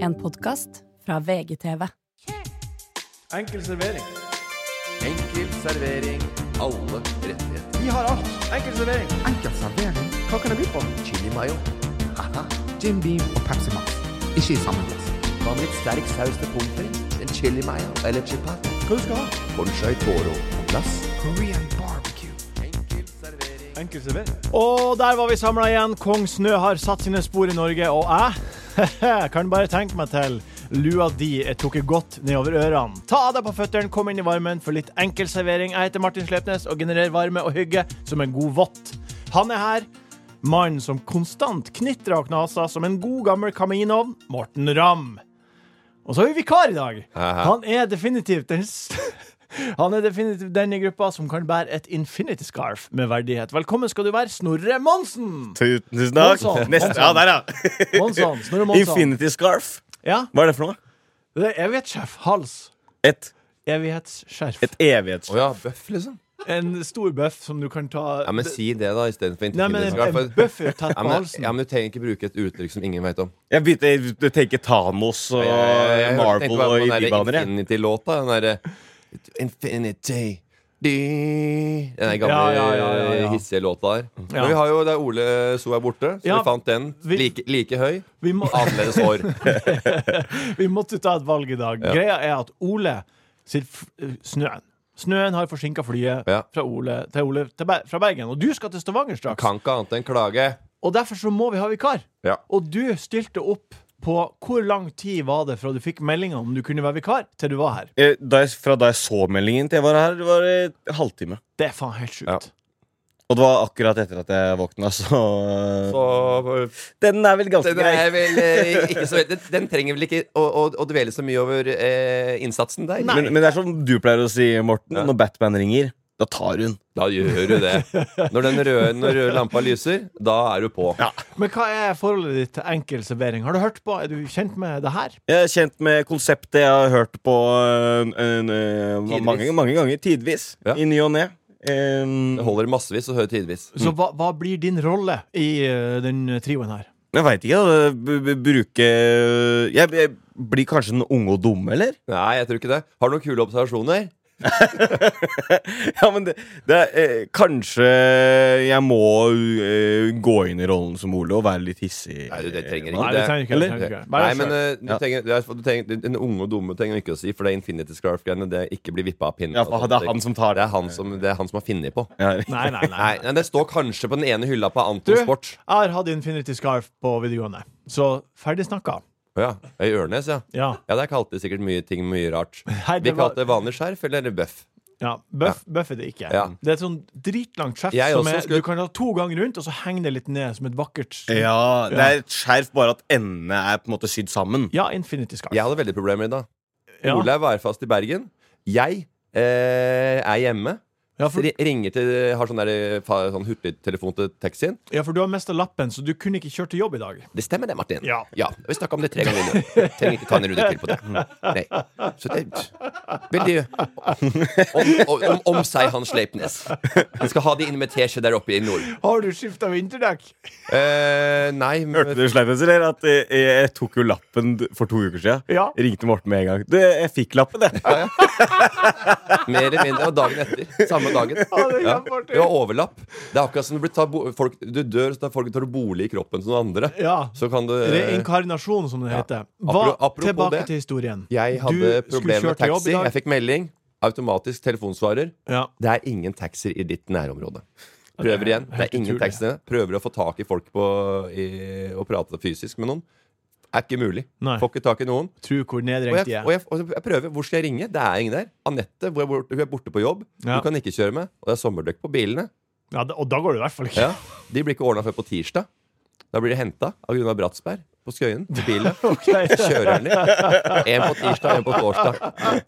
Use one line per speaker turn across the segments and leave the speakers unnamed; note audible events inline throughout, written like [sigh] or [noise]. En podkast fra VGTV.
Enkel servering.
Enkel servering. Alle rettigheter.
Vi har alt. Enkel servering.
Enkel servering,
Hva kan jeg by på?
Chili mayo. Haha.
Jim Beam og Pepsi Max. Ikke i samme glass.
Hva med litt sterk saus til pommes frites? En chili mayo eller chipat?
Hva du skal ha?
Bonchai toro på glass.
Korean barbecue.
Enkel servering.
Enkel servering. Og der var vi samla igjen. Kong Snø har satt sine spor i Norge, og jeg [laughs] kan bare tenke meg til. Lua di er trukket godt nedover ørene. Ta av deg på føttene, kom inn i varmen for litt enkel servering. Jeg heter Martin Slepnes og genererer varme og hygge som en god vott. Han er her. Mannen som konstant knitrer og knaser som en god gammel kaminovn, Morten Ramm. Og så har vi vikar i dag. Han er definitivt den s- [laughs] Han er definitivt den i gruppa som kan bære et infinity scarf med verdighet. Velkommen skal du være, Snorre Monsen!
Tusen tusen takk.
Monson,
Neste, ja,
Monson.
der, ja.
Monson, Snorre Monsen.
Infinity scarf.
Ja,
Hva er det for noe?
det er evighetsskjerf. Hals.
Et,
Evighetsskjerf.
et evighets...
Å ja, bøff, liksom.
En stor bøff som du kan ta
Ja, men Si det, da, istedenfor
Nei, men en,
interfinitionsgrad.
en bøff er jo tett
Ja,
på
men,
halsen.
ja, men Du trenger ikke bruke et uttrykk som ingen vet om.
Jeg begynte jeg tenker Thanos og Marvel og de baner. jeg.
Infinity-låta. Den derre Infinity de- Den der gamle
Ja, ja, ja, ja, ja.
hissige låta der.
Ja.
Men vi har jo der Ole So er borte, så
Ja,
vi fant den.
vi-
Like, like høy,
Vi, må,
annerledes hår.
vi måtte ta et valg i dag. Greia er at Ole sitt f Snøen. Snøen har forsinka flyet
Ja.
fra Ole, til Ole til Ber fra Bergen. Og du skal til Stavanger straks.
Kan ikke annet enn klage.
Og derfor så må vi ha vikar.
Ja.
Og du stilte opp på hvor lang tid var det fra du fikk meldinga om du kunne være vikar, til du var her.
Eh, Da jeg, fra da jeg så meldingen til jeg var her, det var det en halvtime.
Det er faen helt sjukt.
Ja.
Og det var akkurat etter at jeg våkna, så,
Så
Den er vel ganske
den,
grei.
er vel, eh, ikke så, den, den trenger vel ikke å, å, å dvele så mye over eh, innsatsen der.
Men, men det er som du pleier å si, Morten.
Ja.
Når Batman ringer, da tar hun.
Da gjør du
[laughs]
det. Når den røde, når røde lampa lyser, da er du på.
Ja.
Men hva er forholdet ditt til enkel servering? Har du hørt på? Er du kjent med det her?
Jeg er kjent med konseptet jeg har hørt på eh, en, eh,
Tidvis.
mange, mange ganger. Tidvis.
Ja.
I ny og ne. Um,
Det holder massevis og hører tidvis.
Så hva, hva blir din rolle i eh, den trioen her?
Jeg veit ikke. da. B -b Bruke jeg, jeg blir kanskje den unge og dumme, eller?
Nei, jeg tror ikke det. Har du noen kule observasjoner?
[laughs] Ja, men det, det er, eh, Kanskje jeg må eh, gå inn i rollen som Ole og være litt hissig.
Nei, du, det trenger
Nei,
ikke
det
det.
trenger ikke, det
eller?
trenger ikke. Bare
Nei, men
selv.
eh, du
Ja.
trenger, det er- du trenger, Den unge og dumme trenger vi ikke å si, for det er Infinity Scarf-greiene. Det er ikke blir vippa av pinnen.
Ja, for det er han som tar
Det er han som, det er han som har funnet på.
Ja.
Nei, nei, nei. [laughs]
Nei, nei, det står kanskje på den ene hylla på
Du,
Anton
jeg
Sport.
har hatt Infinity Scarf på videregående, så ferdig snakka.
Å Ja, I Ørnes, ja.
Ja.
Ja, Der kalte de sikkert mye ting mye rart.
Nei,
Vi
det var,
kalte det vanlig skjerf eller bøff.
ja. Bøff, bøff er det ikke.
Ja.
Det er et sånn dritlangt skjerf
Jeg
som
også
er,
skulle-
du kan ha to ganger rundt, og så henger det litt ned som et vakkert
Ja, det er et skjerf, bare at endene er på en måte sydd sammen.
Ja, Infinity Scarf.
Jeg hadde veldig problemer i dag.
Ja.
Ole er værfast i Bergen. Jeg eh, er hjemme.
Ja, for,
Ri- Ringer til, har sånn, der, eh, fa- sånn hurtigtelefon til taxien.
ja, for du har mista lappen, så du kunne ikke kjørt til jobb i dag.
Det stemmer det, Martin.
Ja.
Vi snakka om det tre ganger nå. Trenger ikke ta en runde til på det. Nei. Så det Veldig om, om, om, om seg, han Sleipnes. Han skal ha de inn med teskje der oppe i nord.
Har du skifta vinterdekk?
Eh, nei, men-
Hørte du Sleipnes, eller? At jeg, jeg tok jo lappen for to uker siden.
Ja.
Ringte Morten med en gang. Du, jeg fikk lappen, jeg.
Mer eller mindre. Og dagen etter. Samme dagen.
det er
Ja.
kjempeartig.
Det var overlapp. Det er akkurat som du, blir ta bo folk, du dør, så tar folk tar bolig i kroppen som noen andre.
Ja.
Så kan du
Reinkarnasjon, som det heter. Hva,
Apro- apropos
tilbake
det.
til historien.
Jeg
Du
hadde
skulle
problemer
kjørt
med
til jobb i
taxi.
dag.
Jeg fikk melding. Automatisk telefonsvarer.
Ja.
Det er ingen taxier i ditt nærområde. Prøver igjen. Det
helt
er ingen
utrolig.
taxier. Prøver å få tak i folk på, i, og prate fysisk med noen. Er ikke mulig.
Nei.
Får ikke tak i noen.
Tro hvor
Og
nedringt
jeg,
de er.
og, jeg, og jeg prøver. Hvor skal jeg ringe? Det er ingen der. Anette, hvor jeg bort- hun er borte på jobb.
Ja.
Du kan ikke kjøre med. Og det er sommerdekk på bilene.
Ja, da- og da går det i hvert fall ikke.
Ja. De blir ikke ordna før på tirsdag. Da blir de henta av Gunnar Bratsberg på Skøyen. Til bilen. Kjører den litt. En på tirsdag, en på torsdag.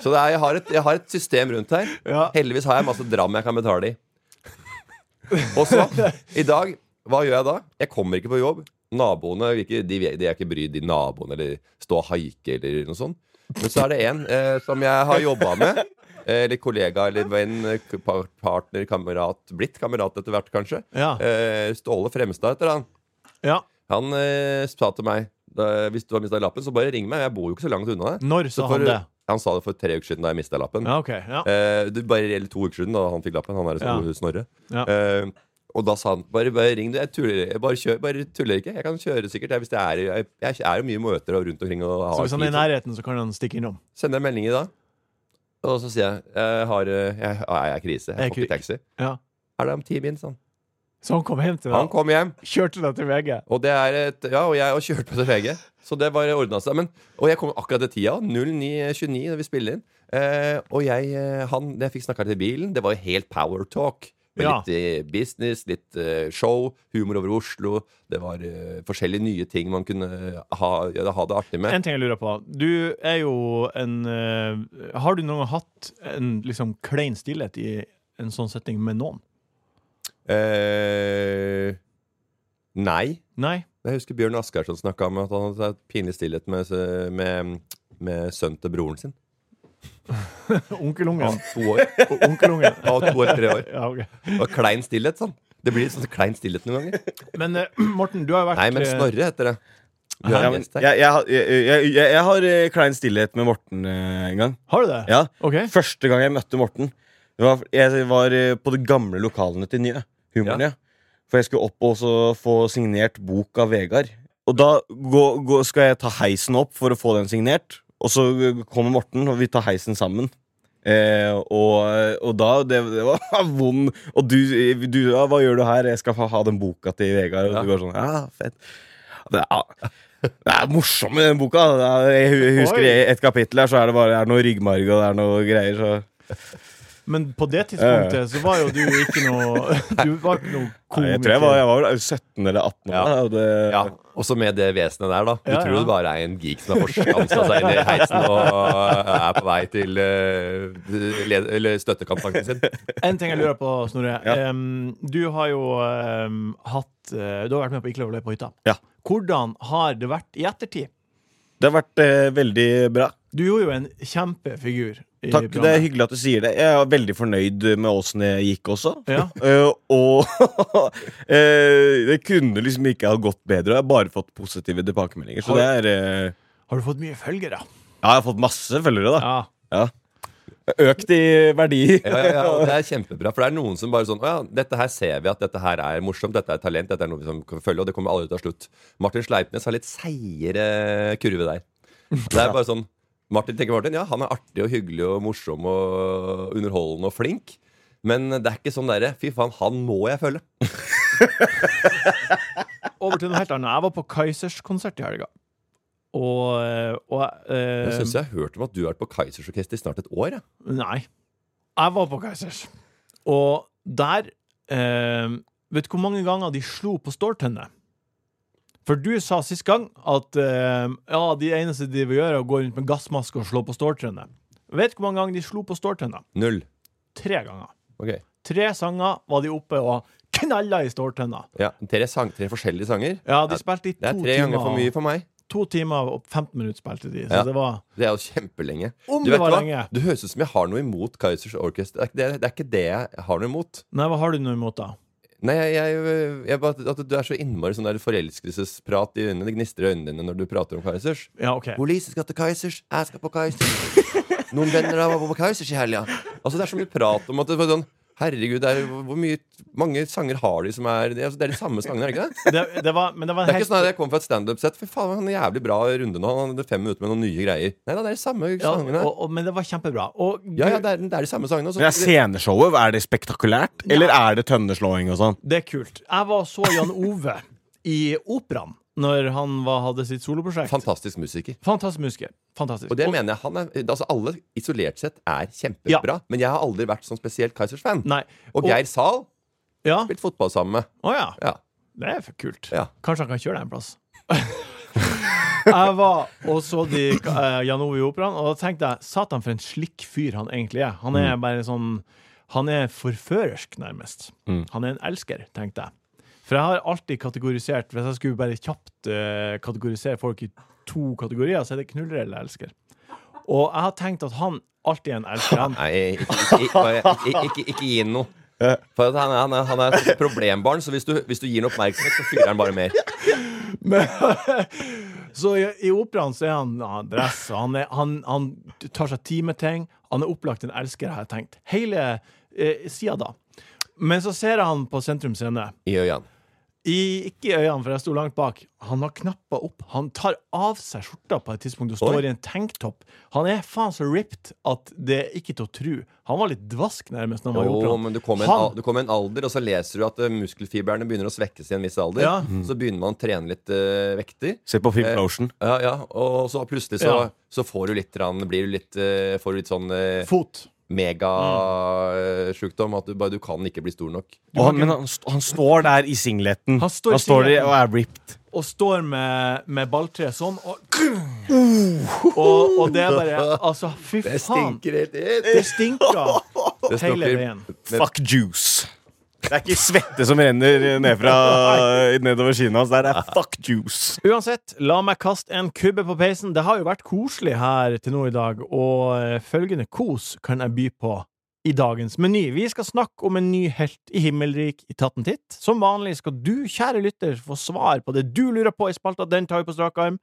Så det er, jeg, har et, jeg har et system rundt her.
Ja.
Heldigvis har jeg masse dram jeg kan betale i. Og så, i dag, hva gjør jeg da? Jeg kommer ikke på jobb. Naboene vil ikke, de, vil- de er ikke bry de naboene eller stå og haike eller noe sånt. Men så er det en eh, som jeg har jobba med. eh, Eller kollega eller venn, eh, k- par- partner, kamerat. Blitt kamerat etter hvert, kanskje.
Ja.
Eh, Ståle Fremstad heter han.
Ja.
Han eh, sa til meg da, hvis du har mista lappen, så bare ring meg. Jeg bor jo ikke så langt unna deg.
Når
Så
sa
for-
han det?
Han sa det for tre uker siden da jeg mista lappen.
Ja, ok. Ja.
Eh, det bare eller to uker siden da han fikk lappen. Han er
Ja.
sånn Snorre.
Ja.
Eh, og da sa han bare, bare ring, du. Jeg tuller, jeg bare, kjør, bare tuller ikke. Jeg kan kjøre sikkert. Jeg, hvis jeg, er, i- jeg, jeg er jo mye møter og rundt omkring. Og har
Så hvis han
tid,
er i nærheten, så kan han stikke innom.
sender jeg en melding i dag, og så sier jeg jeg har, eh, jeg, jeg, jeg er krise.
Jeg er
Jeg får ikke
kri-
taxi.
Ja.
Er det om ti min, sa han.
Så han kom hjem til
Han
deg?
kom hjem,
Kjørte deg til VG?
og det er et Ja, og jeg har kjørt på til VG. Så det bare ordna seg. Men, og jeg kom akkurat til tida. 09.29 når vi spiller inn. Eh, og jeg, eh, han, jeg fikk snakka til bilen. Det var jo helt power talk. Med
Ja.
litt eh, business, litt eh, show, humor over Oslo. Det var eh, forskjellige nye ting man kunne ha, ja, ha det artig med.
En ting jeg lurer på. Du er jo en eh, Har du noen gang hatt en liksom klein stillhet i en sånn setting med noen?
Eh, nei.
Nei?
Jeg husker Bjørn Asgarsson snakka om at han hadde hatt pinlig stillhet med, med, med sønnen til broren sin. Han
Onkelungen?
var to år.
Onkelungen.
Han var to år, tre år.
Ja, ok.
Det var klein stillhet, sånn. Det blir litt sånn klein stillhet noen ganger.
Men eh, [clears throat] Morten, du har jo vært
Nei, men
eh,
Snorre heter det. Vi har
Ja,
en
men,
gjest
jeg,
her.
jeg, har- jeg, jeg, jeg, jeg har eh, klein stillhet med Morten eh, en gang.
Har du det?
Ja.
Ok.
Første gang jeg møtte Morten, det var, jeg var eh, på de gamle lokalene til Nye. Humoren, ja. For jeg skulle opp og så få signert bok av Vegard. Og da gå, gå, skal jeg ta heisen opp for å få den signert. Og så kommer Morten, og vi tar heisen sammen. Eh, og, og da Det, det var [laughs] vond Og du, du ja, 'Hva gjør du her? Jeg skal ha, ha den boka til Vegard.' Og
Ja.
du går sånn 'Ja, fett'. Det er, det er morsomt med den boka. Det er, jeg hu- husker
Oi.
et kapittel her, så er det bare det er noe ryggmarg og det er noe greier. Så.
Men på det tidspunktet så var jo du ikke
[laughs]
noe Du var ikke noe
Eh.
komiker.
Nei, jeg tror jeg var, jeg var vel 17 eller 18 år.
Ja.
da, og det,
Ja, Også med det vesenet der, da. Du
Ja,
tror
ja.
det bare er en geek som har forskansa seg inn i heisen og er på vei til eh, led- eller støttekampanjen sin.
En ting jeg lurer på, Snorre.
Ja.
Em, du har jo em, hatt eh, Du har vært med på Ikke lov å le på hytta.
Ja.
Hvordan har det vært i ettertid?
det har vært eh, veldig bra.
Du gjorde jo en kjempefigur. I
Takk, Det er
programmet.
hyggelig at du sier det. Jeg er veldig fornøyd med åssen det gikk også.
Ja.
[laughs] Eh, og [laughs] eh, det kunne liksom ikke ha gått bedre. og Jeg har bare fått positive tilbakemeldinger. Så det
Har-
er eh,
Har du fått mye følgere?
Ja, jeg har fått masse følgere, da.
Ja.
Økt i verdi.
Ja, ja, ja,
[laughs]
og
[laughs]
det er kjempebra. For det er noen som bare sånn Å ja, dette her ser vi at dette her er morsomt, dette er talent, dette er noe vi som kan følge, og det kommer aldri til å ta slutt. Martin Sleipnes har litt seigere kurve der. Det er bare sånn Martin tenker Martin, ja, han er artig og hyggelig og morsom og underholdende og flink. Men det er ikke sånn derre Fy faen, han må jeg følge.
Over til noe helt annet. Jeg var på Kaizers konsert i helga. Og, eh, og eh,
Jeg syns jeg har hørt om at du har vært på Kaizers Orkester i snart et år. Ja.
Nei. Jeg var på Kaizers. Og der eh, Vet du hvor mange ganger de slo på ståltennene? For du sa sist gang at eh, ja, de eneste de vil gjøre, er å gå rundt med gassmaske og slå på ståltennene. Vet du hvor mange ganger de slo på ståltennene?
Null.
Tre ganger.
Ok.
Tre sanger var de oppe og knalla i ståltenna.
Ja, tre, sang, tre forskjellige sanger.
Ja, de
Ja,
spilte i
Det
to
er tre ganger
timer,
for mye for meg.
to timer og 15 minutter spilte de. Så
Ja.
det var
Det er jo kjempelenge.
Om
du
det
vet
var
hva?
lenge.
Du høres ut som jeg har noe imot Kaizers Orchestra. Det, er- det er ikke det jeg har noe imot.
Nei, hva har du noe imot, da?
Nei, jeg, jeg, jeg bare, at Du er så innmari sånn der forelskelsesprat i øynene. Det gnistrer i øynene dine når du prater om Kaizers.
Ja, OK.
Police skal til Kaizers, jeg skal på Kaizers. Noen venner av meg var på Kaizers i helga. Altså, det er så mye prat om at det var sånn Herregud, det er, jo- hvor mye, mange sanger har de som er Det, altså, det er de samme sangene, er det ikke det?
Det, det var, men det var en
Det er ikke
helt
sånn at jeg kom fra et standup-sett. Fy faen, han er jævlig bra runde nå. Han hadde fem minutter med noen nye greier. Nei da, det er de samme
ja,
sangene.
og, og, Men det var kjempebra. Og
Ja, ja, det er, det er de samme sangene. og så-
Men er sceneshowet, er det spektakulært? Eller er det tønneslåing og sånn?
Det er kult. Jeg var og så Jan Ove i operaen når han var, hadde sitt soloprosjekt.
Fantastisk musiker.
Fantastisk musiker. Fantastisk.
Og det mener jeg han er, altså Alle isolert sett er kjempebra,
Ja. Mm.
men jeg har aldri vært sånn spesielt Kaizers-fan.
Nei.
Og Geir Zahl
Ja.
spilt fotball sammen med.
Å ja.
Ja.
Det er for kult.
Ja.
Kanskje han kan kjøre deg en plass. [laughs] jeg var og så de, eh, Jan Ove i operaen, og da tenkte jeg Satan, for en slikk fyr han egentlig er. Han
Mm.
er bare sånn Han er forførersk, nærmest.
Mm.
Han er en elsker, tenkte jeg. For jeg har alltid kategorisert Hvis jeg skulle bare kjapt eh, kategorisere folk i to kategorier, så er det knuller eller elsker. Og jeg har tenkt at han alltid er en elsker.
[laughs]
Han,
Nei, ikke, ikke, ikke, ikke, ikke gi ham noe.
Eh.
For at han, er- han, er, han er et problembarn, så hvis du, hvis du gir ham oppmerksomhet, så fyrer han bare mer.
Men, [laughs] så i, i operaen så er han ja, dress, og han, er, han, han tar seg tid med ting. Han er opplagt en elsker, har jeg tenkt. Hele eh, sida da. Men så ser jeg han på Sentrum Scene.
I øynene.
I, ikke i øynene, for jeg sto langt bak. Han har knappa opp. Han tar av seg skjorta på et tidspunkt og står
Oi.
i en tanktopp. Han er faen så ripped at det er ikke til å tru. Han var litt dvask, nærmest, når han var i
Jo,
operaen.
men du kommer i en,
Han-
al- du kommer i en alder, og så leser du at eh, muskelfibrene begynner å svekkes i en viss alder. Mm.
Ja.
Så begynner man å trene litt eh, vekter.
Se på Pimp
Eh,
Notion.
Ja, ja, og så plutselig så,
Ja.
så får du litt, grann- blir du litt, eh, får du litt sånn eh,
Fot.
megasjukdom. eh, At du, bare, du kan ikke bli stor nok.
Og han, men han, st- han står der i singleten.
Han
Han
står i
står, der
singleten.
og er ripped.
og står med, med balltre sånn, og, og Og det er bare Altså, fy
Det
faen.
stinker helt ut!
Det stinker
[laughs] Det
hele
stinker.
veien.
Fuck juice. Det er ikke svette som renner ned fra, nedover kinnet hans. Det er fuck juice.
Uansett, la meg kaste en kubbe på peisen. Det har jo vært koselig her til nå i dag, og eh, følgende kos kan jeg by på i dagens meny. Vi skal snakke om en ny helt i himmelrik i Tatt en titt. Som vanlig skal du, kjære lytter, få svar på det du lurer på i spalta. Den tar vi på strak arm.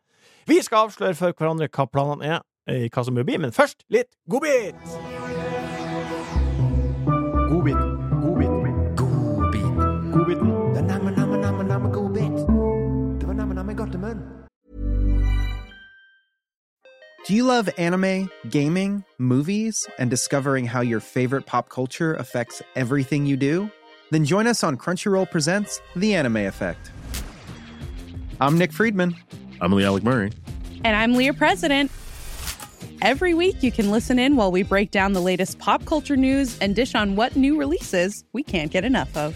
Vi skal avsløre for hverandre hva planene er, eh, hva som bør bli, men først litt godbit!
Godbit. Godbit. Godbit.
Godbiten.
Det er namme, namme, namme, namme godbit. Det var namme, namme godt i munnen.
Do you love anime, gaming, movies, and discovering how your favorite pop culture affects everything you do? Then join us on Crunchyroll Presents The Anime Effect. I'm Nick Friedman.
I'm Lee Alec Murray.
And I'm Leah President. Every week, you can listen in while we break down the latest pop culture news and dish on what new releases we can't get enough of.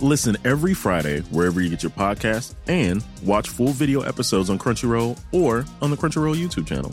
Listen every Friday wherever you get your podcast and watch full video episodes on Crunchyroll or on the Crunchyroll YouTube channel.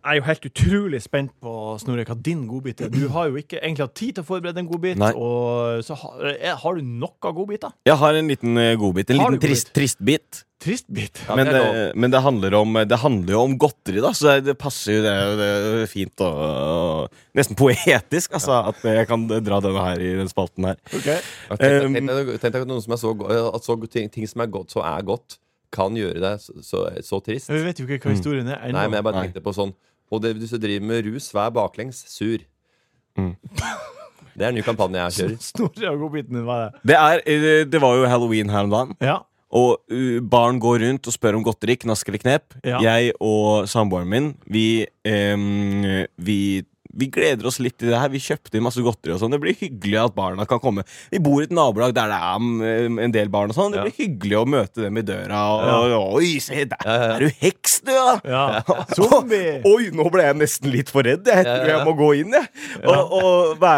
jeg er jo helt utrolig spent på Snorre hva din godbit er. Du har jo ikke egentlig hatt tid til å forberede en godbit,
Nei.
og så har, eh, har du nok av godbiter.
Jeg har en liten eh, godbit. En
Har du
liten trist,
godbit?
tristbit.
Tristbit.
Ja,
Men,
det er lov.
det, men det, handler om, det handler jo om godteri, da, så det- det passer jo det, er jo- det er jo fint og, og nesten poetisk altså, at jeg kan dra denne her i den spalten her.
Ja, Tenk
Um,
tenk deg tenk deg at noen som er så go- eh, at så go- ting, ting som er godt, så er godt, kan gjøre deg så, så, så trist.
Vi vet jo ikke hva historien er
Nei, men
ennå.
jeg bare tenkte på sånn Og det, hvis du driver med rus, vær baklengs sur. Mm. Det er en ny kampanje jeg kjører.
[laughs] Snorre og godbiten din, hva er det?
Det, er, eh, det var jo halloween her om dagen.
Ja.
Og uh, barn går rundt og spør om godteri, knask eller knep.
Ja.
Jeg og samboeren min, vi, ehm, vi vi gleder oss litt til det her. Vi kjøpte inn masse godteri. og sånn Det blir hyggelig at barna kan komme. Vi bor i et nabolag der det er mm, en del barn. og sånn Det blir hyggelig å møte dem i døra. Og, Oi, se der er du heks, du, ja! [laughs]
Ja. Zombie!
Oi, nå ble jeg nesten litt for redd. Jeg tror jeg må gå inn, jeg. Og, og, [laughs]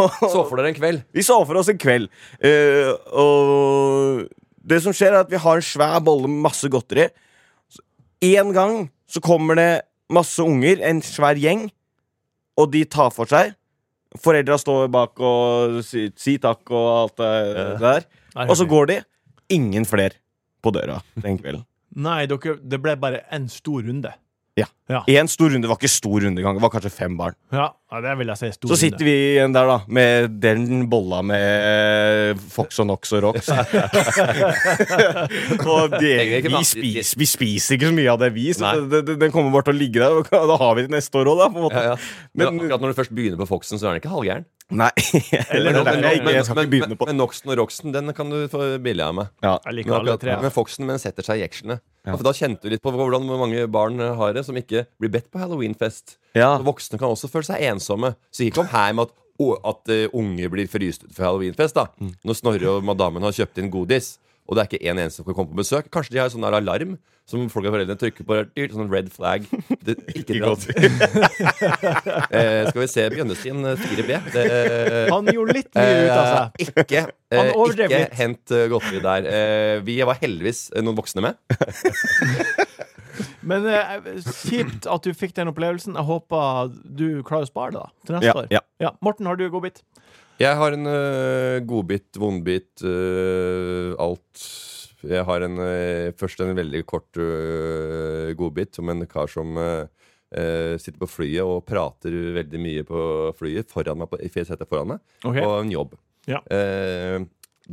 og,
Så for dere en kveld.
vi så for oss en kveld. eh, og det som skjer, er at vi har en svær bolle med masse godteri. Én gang så kommer det masse unger, en svær gjeng, og de tar for seg. Foreldra står bak og sier si takk og alt det der. Og så går de. Ingen flere på døra den kvelden.
Nei, dere, det ble bare en stor runde.
Ja.
Ja.
Én stor runde det var ikke stor runde engang. Det var kanskje fem barn.
Ja. Ja, det vil jeg si er stor
Så sitter vi igjen der, da, med den bolla med eh, Fox og Nox og
[laughs]
Rox. og det,
Egentlig ikke, da.
vi, spiser, vi spiser ikke så mye av det, vi. Så det, det, den kommer bare til å ligge der. Og da har vi det neste år òg, da. På en måte.
Ja, ja. Men,
Men-
akkurat når du først begynner på Foxen, så er den ikke halvgæren.
Nei. Eller,
Men,
det er
men,
derfor jeg, ikke- jeg skal
men,
ikke begynne på
men Noxen og Roxen, den kan du få billig av meg.
ja.
Jeg
Men,
liker alle
akkurat,
tre.
men Foxen men setter seg i jekslene. For Da kjente du litt på hvordan mange barn har det, som ikke blir bedt på halloweenfest.
Ja.
Og Voksne kan også føle seg ensomme. Så ikke kom her med at, å- at eh, unge blir fryst ut for halloweenfest. da
Mm.
Når Snorre og madammen har kjøpt inn godis, og det er ikke en eneste som kan komme på besøk. Kanskje de har sånn der alarm som folk og foreldrene trykker på. dyrt, Sånn red flag. Det, ikke dra. eh, skal vi se Bjønnestien eh, 4B. Det, eh,
Han gjorde litt mye ut av seg.
Eh, Ikke, eh,
Han overdrev
ikke
litt.
hent eh, godteri der. Eh, vi var heldigvis eh, noen voksne med.
Men eh, kjipt at du fikk den opplevelsen. Jeg håper du klarer å spare det da til neste
Ja,
år.
ja.
Morten, har du godbit?
Jeg har en uh, godbit, vondbit, øh, alt. Jeg har en, øh, først en veldig kort øh, godbit om en kar som øh, øh, sitter på flyet og prater veldig mye på flyet foran meg, på, i fjeset foran meg,
Ok.
og en jobb.
Ja.
Eh,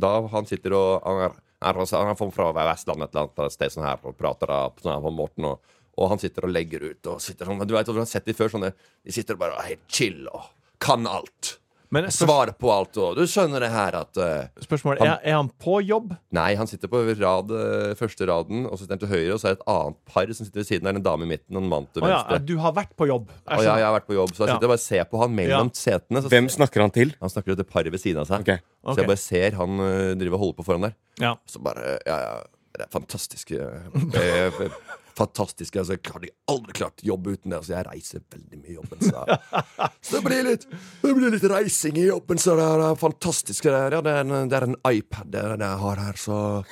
da han sitter og Han er, er, også- han er fra- fra Vestlandet et eller annet sted sånn her, og prater da, sånn her på Morten. Og, og han sitter og legger ut. Og sitter sånn, du vet, du har sett de før sånne De sitter og bare er helt chill og kan alt.
Men spørs
Svar på alt, og du skjønner det her at eh,
spørsmålet er, er han på jobb?
Nei, han sitter på rad, eh, første raden, og så sitter han til høyre, og så er det et annet par som sitter ved siden der, en dame i midten og en mann til
Å ja,
venstre.
du har vært på jobb. Jeg
og ja,
skjønner.
jeg har vært på jobb, så jeg
Ja.
sitter og bare ser på han mellom
Ja.
setene. Så
Hvem snakker han til?
Han snakker til det paret ved siden av seg.
Ok.
Så
Ok.
jeg bare ser han eh, driver og holder på foran der.
Ja.
Så bare Ja, ja. Det er fantastisk. eh, eh, fantastisk. Altså, jeg hadde aldri klart jobb uten det. Altså, jeg reiser veldig mye i jobben. Så, så det, blir litt, det blir litt reising i jobben, så det er eh, fantastisk. Det er, ja, det er, en, det er en iPad det, er det jeg har her, så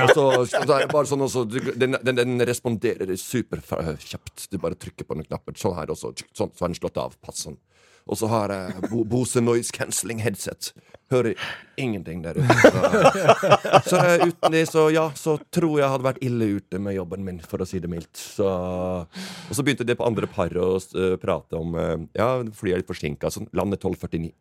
og så, så det er bare sånn også, du- den, den, den responderer superkjapt. Du bare trykker på den knappen. Sånn her også. Sånn, så har den slått av. Pass sånn. Og så har jeg Bo Bose Noise Cancelling Headset. Hører ingenting der ute. Så eh, uten det, så ja, så tror jeg hadde vært ille ute med jobben min, for å si det mildt. Så, og så begynte det på andre par å eh, prate om eh, Ja, flyet er litt forsinka. Sånn, lander 12.49.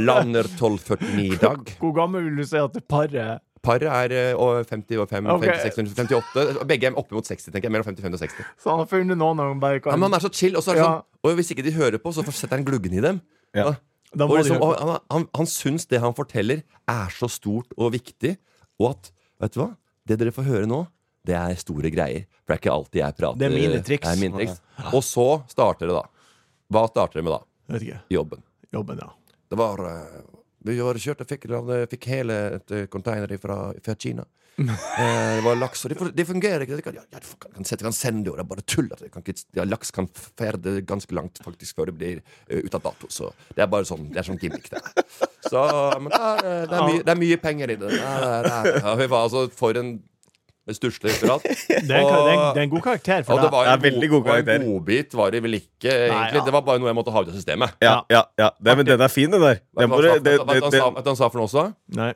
lander 12.49 i dag.
Hvor gammel vil du si at det paret
Paret er eh, og 50 og 5,
Ok.
56, 58. Begge er oppe mot 60, tenker jeg. Mellom 55 og 60.
Så han har funnet noen han bare
Ja,
kan
men han er så chill, og så er det
Ja.
sånn Og hvis ikke de hører på, så setter han gluggen i dem.
Ja.
Da
Og
må de
liksom,
høre på.
og han, han, han syns det han forteller, er så stort og viktig, og at Vet du hva? Det dere får høre nå, det er store greier. For det er ikke alltid jeg prater.
Det er mine triks.
Det er mine triks. Og så starter det, da. Hva starter det med da?
Jeg vet ikke.
Jobben.
Jobben, ja.
Det var eh, Vi var kjørt og fikk, fikk hele et eh, container fra, fra
[laughs]
Kina. Eh, det var laks, og det, fun- det fungerer ikke. Det kan- Ja, ja, du kan, kan, sette- kan sende det, og det er bare tull. at det Kan, ikke- ja, laks kan ferde ganske langt faktisk før det blir eh, ut av dato. Så det er bare sånn det er sånn gimmick. Det. er. Så, men det er, eh, det, er mye, det er mye penger i det. det, er, det er, ja, fy faen, altså, for en stusslig referat.
[laughs] Det er, en, kar- det, er en, det er en god karakter for
Og det
deg.
var
Det er
en, god,
veldig god
og en
karakter.
godbit var det vel ikke, egentlig.
ja.
Det var bare noe jeg måtte ha ut av systemet.
Ja, ja, ja. Det, men den er fin, den der. Den må du-
Vet du
det-
hva han sa- vet du hva han sa-
det-
vet du hva han sa for noe også?
Nei.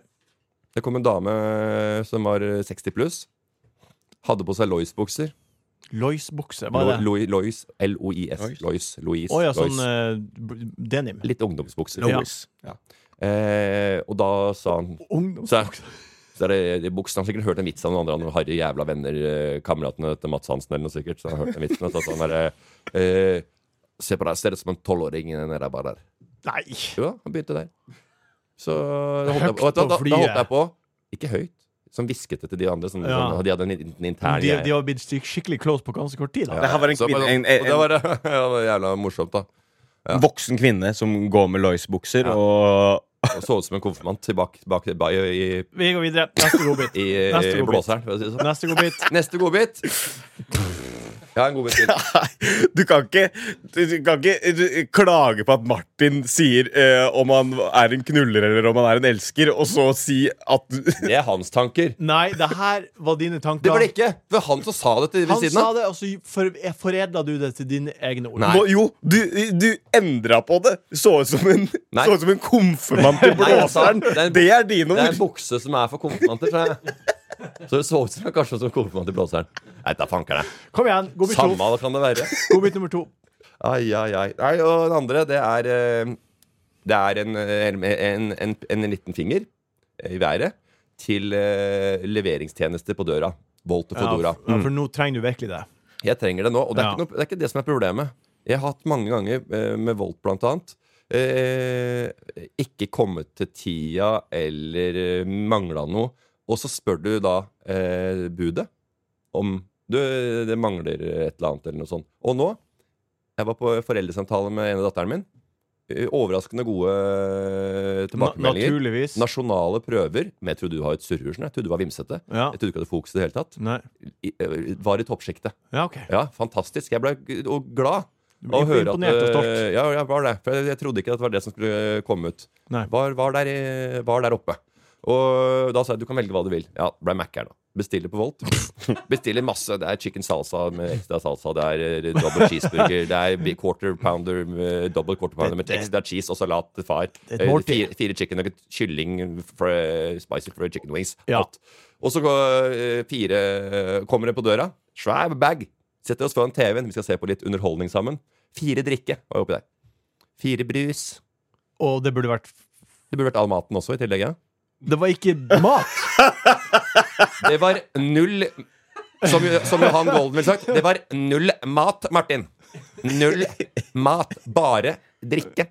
Det kom en dame som var 60 pluss. Hadde på seg Lois-bukser.
Lois-bukse, var det?
Lo- Lo- Lois. L-O-I-s.
Lois.
Lois. Lois.
Å ja, sånn
Lois.
eh, b- denim.
Litt ungdomsbukser.
Ja.
Ja. Eh, og da sa
[laughs]
han
Ungdoms...
Så, så er det, de buksene, Han har sikkert hørt en vits av noen andre. Han Harry jævla venner, eh, kameratene til Mats Hansen eller noe sikkert. Så han har hørt den vitsen og så sa han der, eh, Se på deg, ser ut som en tolvåring nede der bare der.
Nei!
Jo da, han begynte der. Så da holdt jeg,
Høgt
og vet du hva,
og
da, da
flyet.
holdt jeg på. Ikke høyt. Som hvisket det til de andre. Sånn,
Ja.
sånn, de hadde en, in- en intern
De,
greie.
de har blitt styk- skikkelig close på ganske kort tid. da
Det her var en
Så
kvinne
bare-
en, en,
og det var, [laughs]
en
ja, det var jævla morsomt, da.
voksen kvinne som går med Lois-bukser
Ja.
og
Og så ut som en konfirmant tilbake, tilbake til Bay i,
Vi går videre. Neste
[laughs]
godbit.
i,
Neste
i
godbit.
blåseren. For å si det sånn.
Neste godbit.
Neste godbit. Jeg har en godbit til.
du kan ikke, du du kan ikke du, klage på at Martin sier eh, om han er en knuller eller om han er en elsker, og så si at
Det er hans tanker.
Nei, det her var dine tanker.
Det var det ikke! Det var han som sa det til ved
Han
siden
sa
av.
det, og så for, foredla du det til dine egne ord.
Nei.
Nå, Jo, du, du endra på det! Så ut som en,
Nei.
så ut som en konfirmant
Nei,
i
jeg sa-
blåseren!
det er en-
Det er dine
Det er en
ord!
bukse som er for konfirmanter, sa jeg. Så det så ut som kanskje som konfirmant i blåseren. Nei, da fanker jeg.
Kom igjen. Godbit to.
Samme kan det være.
Godbit nummer to.
Ai, ai, ai. Nei, og den andre, det er eh, Det er en, en, en, en liten finger eh, i været til eh, leveringstjenester på døra. Volt og
Ja,
Fodora.
for, ja, for nå trenger du virkelig det.
Jeg trenger det nå, og det er,
Ja.
ikke, noe, det er ikke det som er problemet. Jeg har hatt mange ganger eh, med Volt, blant annet. Eh, ikke kommet til tida eller eh, mangla noe. Og så spør du da eh, budet om du, det mangler et eller annet, eller noe sånt. Og nå Jeg var på foreldresamtale med en av datteren min. Eh, Overraskende gode eh,
Na
tilbakemeldinger.
naturligvis.
Nasjonale prøver. Men jeg trodde du var et surrehus. Jeg trodde du var vimsete.
Ja.
Jeg trodde ikke du hadde fokus i det hele tatt.
Nei.
I, eh, var i toppsjiktet.
ja, OK.
Ja, fantastisk. Jeg ble g- og glad
Du
av å
blir
høre at
imponert og stolt.
øh, Ja, jeg var det. For jeg, jeg trodde ikke at det var det som skulle øh, komme ut.
Nei.
Var, var, der, i- var der oppe. Og da sa jeg du kan velge hva du vil. Ja, ble Mac-er, da. Bestiller på
[laughs]
Volt. Bestiller masse. Det er chicken salsa med ekstra salsa. Det er øh, double cheeseburger. Det er big quarter pounder med double quarter pounder med ekstra cheese og salat til far.
Det er et
Eh,
måltid.
Fire, fire chicken nugget, kylling, fr- spicy fried chicken wings.
Ja.
Alt. Og så går, eh, fire eh, kommer det på døra. Svær bag. Setter oss foran TV-en. Vi skal se på litt underholdning sammen. Fire drikke var jo oppi der. Fire brus.
Og det burde vært
Det burde vært all maten også i tillegg. Ja.
Det var ikke
[laughs]
mat!
Det var null som, som Johan Golden ville sagt, det var null mat, Martin. Null mat. Bare drikke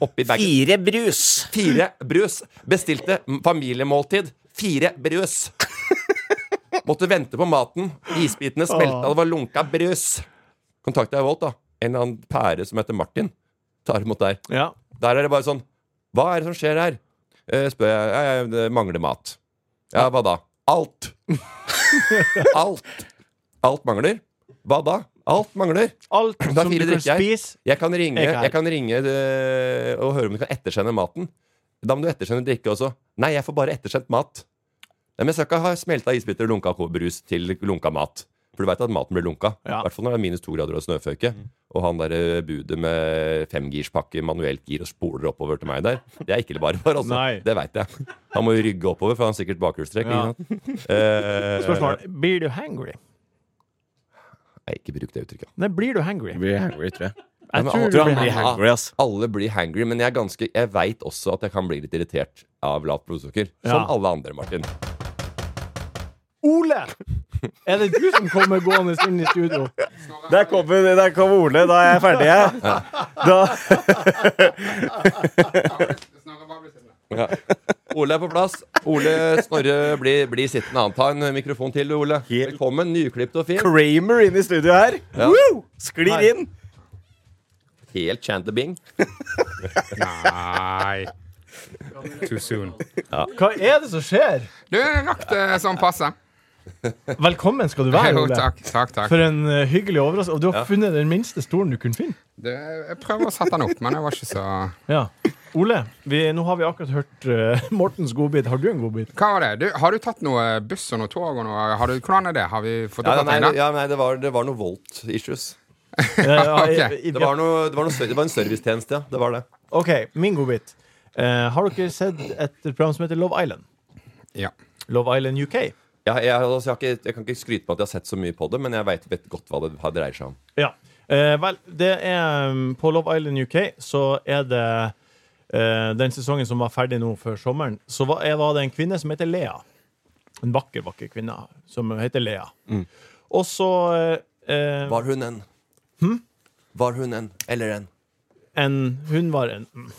oppi bagen.
Fire brus!
Fire brus. Bestilte m- familiemåltid. Fire brus. Måtte vente på maten. Isbitene smelta, det var lunka brus. Kontakta jeg Volt, da. En eller annen pære som heter Martin. Tar imot der.
Ja.
Der er det bare sånn Hva er det som skjer her? Eh, spør jeg. «Ja, ja, det mangler mat. Ja, hva da? Alt. [laughs] Alt. Alt mangler. Hva da? Alt mangler.
Alt
Da
som du
fire
kan
drikker jeg.
spise
Jeg kan ringe,
Ikke her.
jeg kan ringe eh, og høre om du kan ettersende maten. Da må du ettersende drikke også. Nei, jeg får bare ettersendt mat. Nei, men jeg skal ikke ha smelta isbiter og lunka brus til lunka mat. For du veit at maten blir lunka. I
Ja. Mm.
hvert fall når det er minus to grader og snøføyke. Og han derre budet med femgirspakke, manuelt gir og spoler oppover til meg der. Det er ikke bare bare, altså.
Nei.
Det veit jeg. Han må jo rygge oppover, for han har sikkert bakhjulstrekk.
Ja.
ikke sant? Eh,
Spørsmål. Blir du hangry?
Nei, ikke bruk det uttrykket.
Nei, blir du hangry?
Jeg blir hangry, tror jeg.
Jeg
men
tror
alle-
du
Tror han
blir
blir
hangry.
hangry, ass.
Alle blir hangry, men jeg, er ganske- jeg veit også at jeg kan bli litt irritert av lavt blodsukker. Som
Ja.
alle andre, Martin.
Ole! Er det du som kommer gående inn i studio?
Der kommer, der kommer Ole. Da er jeg ferdig, jeg. Da,
Ja. Ole er på plass. Ole Snorre, bli, bli sittende. Han tar en eh, mikrofon til, Ole.
Helt-
Velkommen. Nyklipt og fin.
Kramer inn i studio her.
Ja.
Woo! Sklir inn.
Helt Chandler Bing.
Nei. Too soon.
Hva er det som skjer?
Du rakk det sånn passe.
Velkommen skal du
[laughs] er
være,
Jo,
Ole.
takk, takk, takk.
For en eh, hyggelig overraskelse. Og du har
Ja.
funnet den minste stolen du kunne finne.
Du, jeg prøver å sette den opp, men jeg var ikke så
Ja. Ole, vi, nå har vi akkurat hørt eh, [laughs] Mortens godbit. Har du en godbit?
Hva var det? Du, har du tatt noe buss og noe tog og noe har du, Hvordan er det? Har vi fått
Ja, nei,
oppdatert det? er
ja, nei det, var, det var noe Volt-issues.
Eh, [laughs] ja, jeg-
Ok,
jeg-
Det var, noe, det, var noe, ser- det var en servicetjeneste, ja. Det var det.
OK, min godbit. Eh, har dere sett et program som heter Love Island?
Ja.
Love Island UK.
Jeg, jeg, altså, jeg, har ikke, jeg kan ikke skryte på at jeg har sett så mye på det, men jeg veit godt hva det hva det dreier seg om.
Ja. Eh, vel, det er um, På Love Island UK så er det eh, den sesongen som var ferdig nå før sommeren, så var, jeg var det en kvinne som heter Lea. En vakker, vakker kvinne som heter Lea. Og så eh,
Var hun en?
Hm?
Var hun en? Eller en?
en Hun var en mm.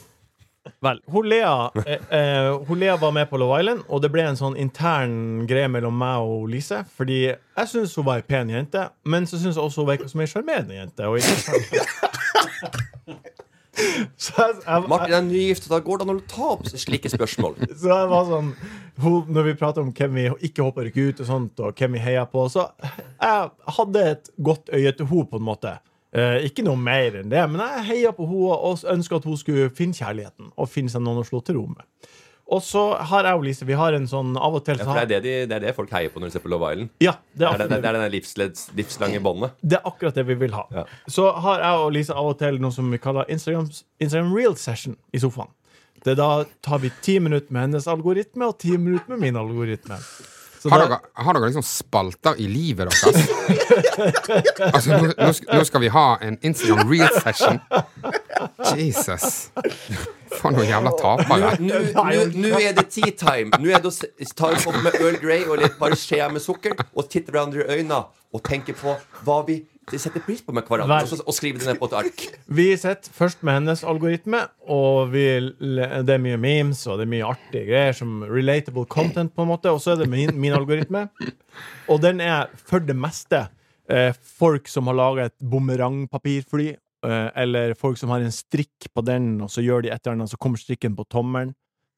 Vel, hun Lea, eh, eh, hun Lea var med på Love Island, og det ble en sånn intern greie mellom meg og Lise. Fordi jeg syns hun var ei pen jente, men så syns jeg også hun virka som ei sjarmerende jente. Og interessant. [laughs] så jeg, jeg,
Martin er nygiftet. Da går det an å ta opp slike
[laughs]
spørsmål.
så jeg var sånn hun, Når vi prater om hvem vi ikke håper rykker ut, og sånt Og hvem vi heier på Så jeg hadde et godt øye til henne, på en måte. Eh, ikke noe mer enn det, men jeg heia på henne og ønska at hun skulle finne kjærligheten. Og finne seg noen å slå til ro med. Og så har jeg og Lise Vi har en sånn av og til
Ja,
så
for det
har,
er det, de, det er det folk heier på når de ser på Love Island.
ja, det, er
Det er det,
akkurat,
det er denne livsleds, livslange båndet.
[laughs] det er akkurat det vi vil ha.
Ja.
Så har jeg og Lise av og til noe som vi kaller Instagram, Instagram Real Session i sofaen. Det er Da tar vi ti minutter med hennes algoritme og ti minutter med min algoritme. Så
har,
det-
dere, har dere liksom spalter i
[laughs]
livet deres? altså, nå, nå sk- nå skal vi ha en Instagram real-session. Jesus. Faen, noen jævla tapere.
Nå nå er det tea time. Nå er det å s- ta en kopp med Earl Grey og litt bare skje med sukker og titte hverandre i øynene og tenke på hva vi setter pris på med hverandre, og, så, og skrive det ned på et ark.
Vi sitter først med hennes algoritme, og vi, det er mye memes og det er mye artige greier. Som relatable content, på en måte. Og så er det min, min algoritme. Og den er for det meste eh, folk som har laga et bumerangpapirfly, eh, eller folk som har en strikk på den, og så gjør de et eller annet, så kommer strikken på tommelen.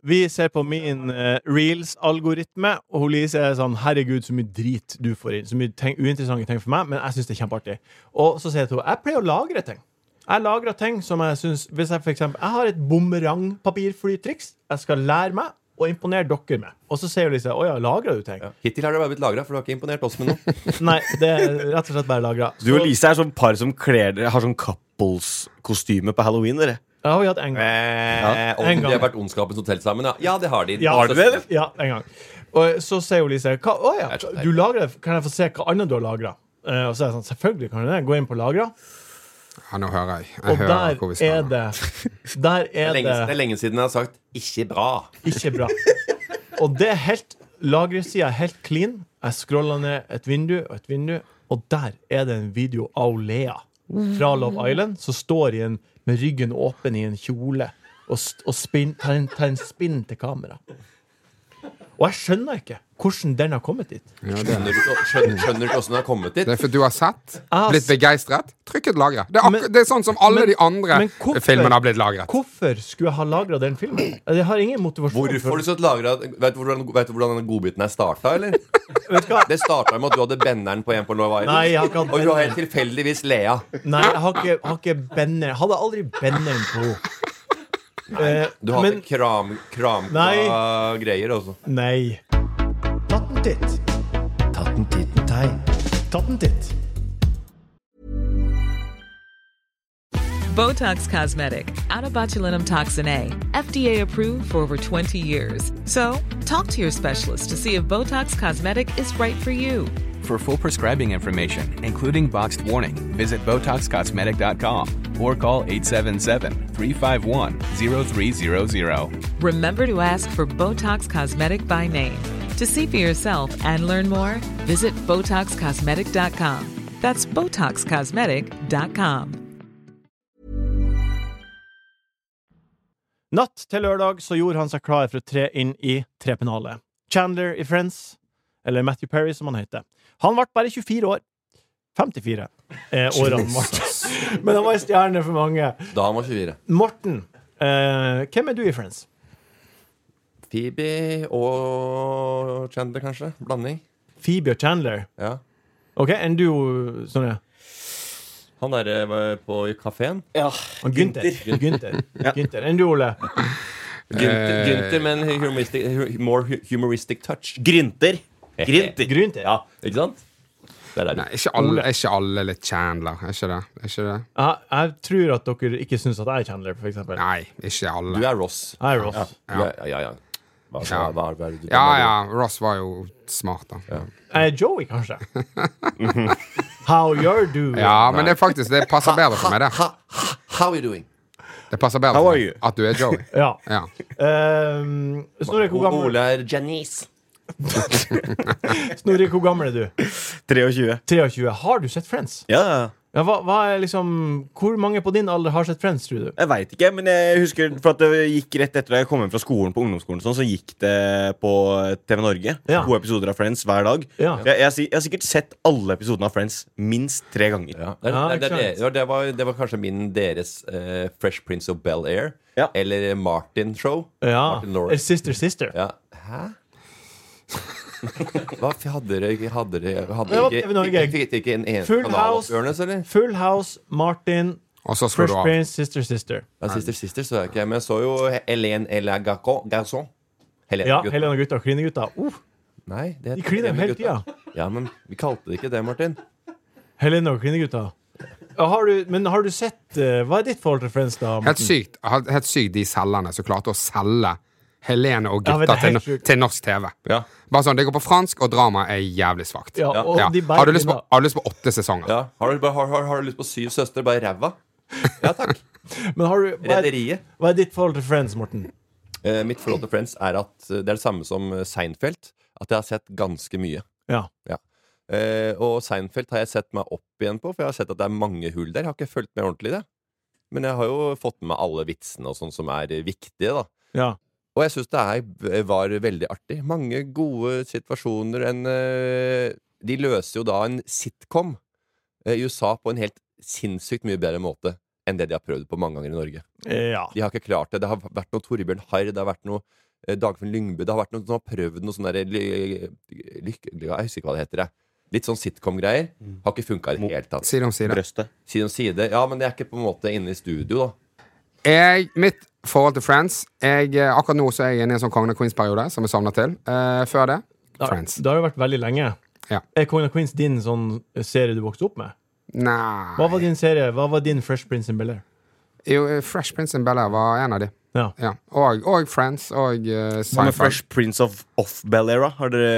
Vi ser på min eh, reels-algoritme, og hun Lise er sånn 'Herregud, så mye drit du får inn.' Så mye ting, uinteressante ting for meg, men jeg syns det er kjempeartig. Og så sier jeg til henne 'Jeg pleier å lagre ting'. Jeg lagrer ting som jeg syns Hvis jeg for eksempel Jeg har et bumerangpapirflytriks jeg skal lære meg og imponere dere med. Og så sier Lise 'Å ja, lagrer du ting?'
Hittil har det bare blitt lagra, for du har ikke imponert oss med
[laughs]
noe.
Nei, det er rett og slett bare lagra.
Du og Lise er sånn par som kler dere har sånn couples-kostyme på halloween, dere.
Jeg har vi hatt en gang.
Eh, om
En
de
gang.
har vært Ondskapens hotell sammen, ja. Ja, det har de.
Ja.
Har de det, eller?
Ja, en gang. Og så sier jo Lise hva, å, ja,
så teit.
du lagrer, Kan jeg få se hva annet du har lagra? og så er jeg sånn Selvfølgelig kan du det. Gå inn på lagra,
Ja, nå hører jeg. jeg
og
hører hvor
der
vi skal.
er det Der
Det
er
er, lenge, det er
det
lenge siden jeg har sagt 'ikke bra'.
ikke bra. Og det er helt Lagresida er helt clean. Jeg scroller ned et vindu og et vindu, og der er det en video av Lea fra Love Island som står i en, med ryggen åpen i en kjole og, st- og spin, tar, en, tar en spinn til kamera. Og jeg skjønner ikke hvordan den har kommet dit.
Skjønner du ikke- skjønner- skjønner du ikke åssen det har kommet dit?
Det er for du har sett,
har
blitt begeistret, trykket lagre. Det, er akkur- det er sånn som alle de andre
men hvorfor-
filmene har blitt lagret.
Hvorfor skulle jeg ha lagra den filmen? Jeg har ingen motivasjon.
Hvorfor
for
har du
det.
satt lagret Vet du hvordan, vet du hvordan den godbiten her starta,
[laughs]
eller? Det starta med at du hadde benneren på en på Love Island.
Nei, jeg har ikke hatt
og du har
benneren.
helt tilfeldigvis Lea.
Nei, jeg har ikke, har ikke benner. Jeg hadde aldri benneren på henne. Eh,
Du hadde
men-
kram, kramka
Nei.
greier, altså.
Nei. Tatten titt. Tatten titten tei. Tatten titt.
[laughs] Botox Cosmetic, out of botulinum toxin A, FDA approved for over 20 years. So, talk to your specialist to see if Botox Cosmetic is right for you.
For full prescribing information, including boxed warning, visit BotoxCosmetic.com or call 877-351-0300.
Remember to ask for Botox Cosmetic by name. To see for yourself and learn more, visit BotoxCosmetic.com. That's BotoxCosmetic.com.
Natt til lørdag så gjorde han seg klar for å tre inn i trepennalet. Chandler i Friends, eller Matthew Perry som han heter. Han ble bare 24 år. 54 eh, år han ble. Men han var en stjerne for mange.
Da han var 24.
Morten, eh, hvem er du i Friends?
Phoebe og Chandler, kanskje? Blanding.
Phoebe og Chandler.
Ja.
Ok, enn du, Sonja?
Han derre var på i kafeen.
Ja.
Og Gunther. Gunther. Gunther. Enn du, Ole?
Gunther,
Eh.
Gunther med en humoristic, hu- more hu- humoristic touch.
Grinter. Grinter.
Ja, ikke sant? Der er du.
Nei, ikke alle, er ikke alle litt Chandler? Er ikke det? Er ikke det?
Jeg, jeg tror at dere ikke syns at jeg er Chandler, for eksempel.
Nei, ikke alle.
Du er Ross.
Jeg er Ross.
Du er- Ja, ja. ja. Hva, hva, hva, hva er det du
Ja ja, Ross var jo smart, da. Ja,
Jeg er Joey, kanskje. How you're doing.
men det er faktisk Det passer bedre for meg, det.
How are you doing?
Det passer bedre
How
for
are
meg
you?
at du er Joey.
[laughs] Ja.
Ja.
Ehm, Snorre, hvor gammel,
Ole er Janice.
Snorre, hvor gammel er du?
23.
23. Har du sett Friends?
Ja, ja.
Ja, hva, hva er liksom, hvor mange på din alder har sett Friends, tror du?
Jeg veit ikke, men jeg husker for at det gikk rett etter da jeg kom hjem fra skolen på ungdomsskolen, sånn, så gikk det på TV Norge.
Ja.
To episoder av Friends hver dag.
Ja.
Jeg, jeg, har si- jeg har sikkert sett alle episodene av Friends minst tre ganger.
Ja.
Ja,
Det, det, det,
ikke sant.
det, det, var, det var kanskje min deres eh, Fresh Prince of Bel-Air.
Ja.
Eller Martin Show.
Ja.
Martin Lawrence.
Eller Sister Sister.
Ja. Hæ? [laughs] Hva f- hadde dere ikke Hadde dere hadde
Det var
dere
TV Norge.
ikke, fikk dere ikke en ene
Full
kanal
House.
opp Ørnes, eller?
Full House, Martin,
Og så slo
Fresh
du av.
Prince, Sister Sister.
Ja, Sister Sister så jeg ikke, men jeg så jo Helene Ella Garcon. Garçon. Helene
Ja,
gutt.
Helene og gutta og Klinegutta. Uh,
Nei, det
de kliner jo hele tida.
Ja, men vi kalte det ikke det, Martin.
Helene og Klinegutta. Ja, Har du, men har du sett eh, Hva er ditt forhold til Friends, da?
Helt sykt, helt sykt de selgerne som klarte å selge Helene og
Ja, men det
gutta
er
til,
helt sjukt.
til norsk TV.
Ja.
Bare sånn, Det går på fransk, og drama er jævlig svakt.
Ja, og de bærer
Har, du lyst på-
kvinner.
har du lyst på åtte sesonger?
Ja. Har, du, bare- har, har, har du lyst på Syv søstre? Bare ræva?
Men har du, hva,
Rederiet.
er, hva er ditt forhold til Friends, Morten?
Eh, mitt forhold til Friends er at eh, det er det samme som eh, Seinfeld. At jeg har sett ganske mye.
Ja.
Eh, og Seinfeld har jeg sett meg opp igjen på, for jeg har sett at det er mange hull der. Jeg har ikke fulgt med ordentlig i det. Men jeg har jo fått med meg alle vitsene og sånn som er eh, viktige, da.
Ja.
Og jeg syns det er, eh, var veldig artig. Mange gode situasjoner. En, eh, de løser jo da en sitcom eh, i USA på en helt sinnssykt mye bedre måte enn det de har prøvd på mange ganger i Norge.
eh, Ja.
De har ikke klart det. Det har vært noe Torbjørn Harr, det har vært noe eh, Dagfinn Lyngbø Det har vært noen som har prøvd noe sånn derre ly- lykke... Jeg husker ikke hva det heter. jeg. Litt sånn sitcom-greier.
Mm.
Har ikke funka i det hele tatt.
Side om side. Brøstet.
Side om side. Ja, men det er ikke på en måte inne i studio, da.
Jeg, mitt forhold til Friends jeg, eh, Akkurat nå så er jeg inne i en sånn Kongen og Queens-periode som jeg savner til. Eh, før det
Ja,
Friends.
Det har jo vært veldig lenge.
Ja.
Er Queen of Queens din sånn serie du vokste opp med?
Nei
Hva var din serie? Hva var din Fresh Prince in Bel-Air?
Jo, eh, Fresh Prince in Bella var en av de.
Ja.
Og, og Friends og uh,
Hva med
Seinfeld.
Fresh Prince of Off-Bel-Era? Har dere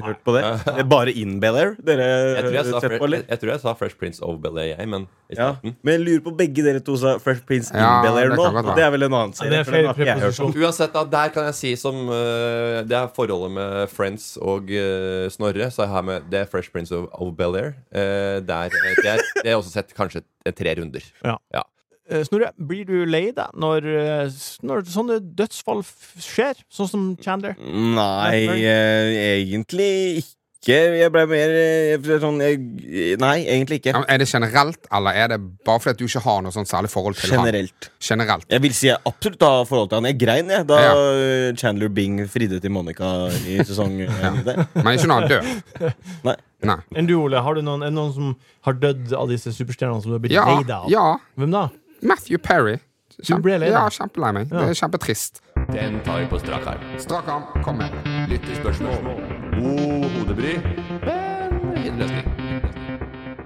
hørt
[laughs]
på det? Det er Bare in Bel-Air? Dere
Jeg tror jeg, sa,
har sett på,
Fre-
eller?
jeg, jeg tror jeg sa Fresh Prince of Bel-Air, jeg, men i
Ja.
starten.
Men jeg lurer på begge dere to sa Fresh Prince in
Ja,
Bel-Air
det
nå.
kan godt være.
Det er vel en annen serie? for den har ikke jeg hørt om.
Uansett, da, der kan jeg si som eh, Det er forholdet med Friends og eh, Snorre. Så er her med Det er Fresh Prince of, of Bel-Air. Eh, der, eh, det, er, det har jeg også sett kanskje eh, tre runder.
Ja.
Ja.
Eh, Snorre, blir du lei deg når, eh, s- når sånne dødsfall f- skjer? Sånn som Chandler?
Nei,
Nei.
eh, egentlig ikke. Jeg ble mer eh, jeg ble sånn jeg, Nei, egentlig ikke.
Ja, men er det generelt, eller er det bare fordi at du ikke har noe sånn særlig forhold til
Generelt.
han? Generelt.
Jeg vil si jeg absolutt har forhold til han. Jeg grein jeg, da
Ja.
eh, Chandler Bing fridde til Monica i sesong eh, der.
Men ikke når han dør.
Nei.
Nei.
Enn du, Ole? Har du noen, er det noen som har dødd av disse superstjernene som du har blitt
Ja,
lei deg av?
ja.
Hvem da?
Matthew Perry.
Du ble lei deg?
Ja, kjempelei meg.
Ja.
Det er kjempetrist.
Den tar vi på strak arm.
Strak arm. Kom med.
Lytterspørsmål. God hodebry. Men fin løsning.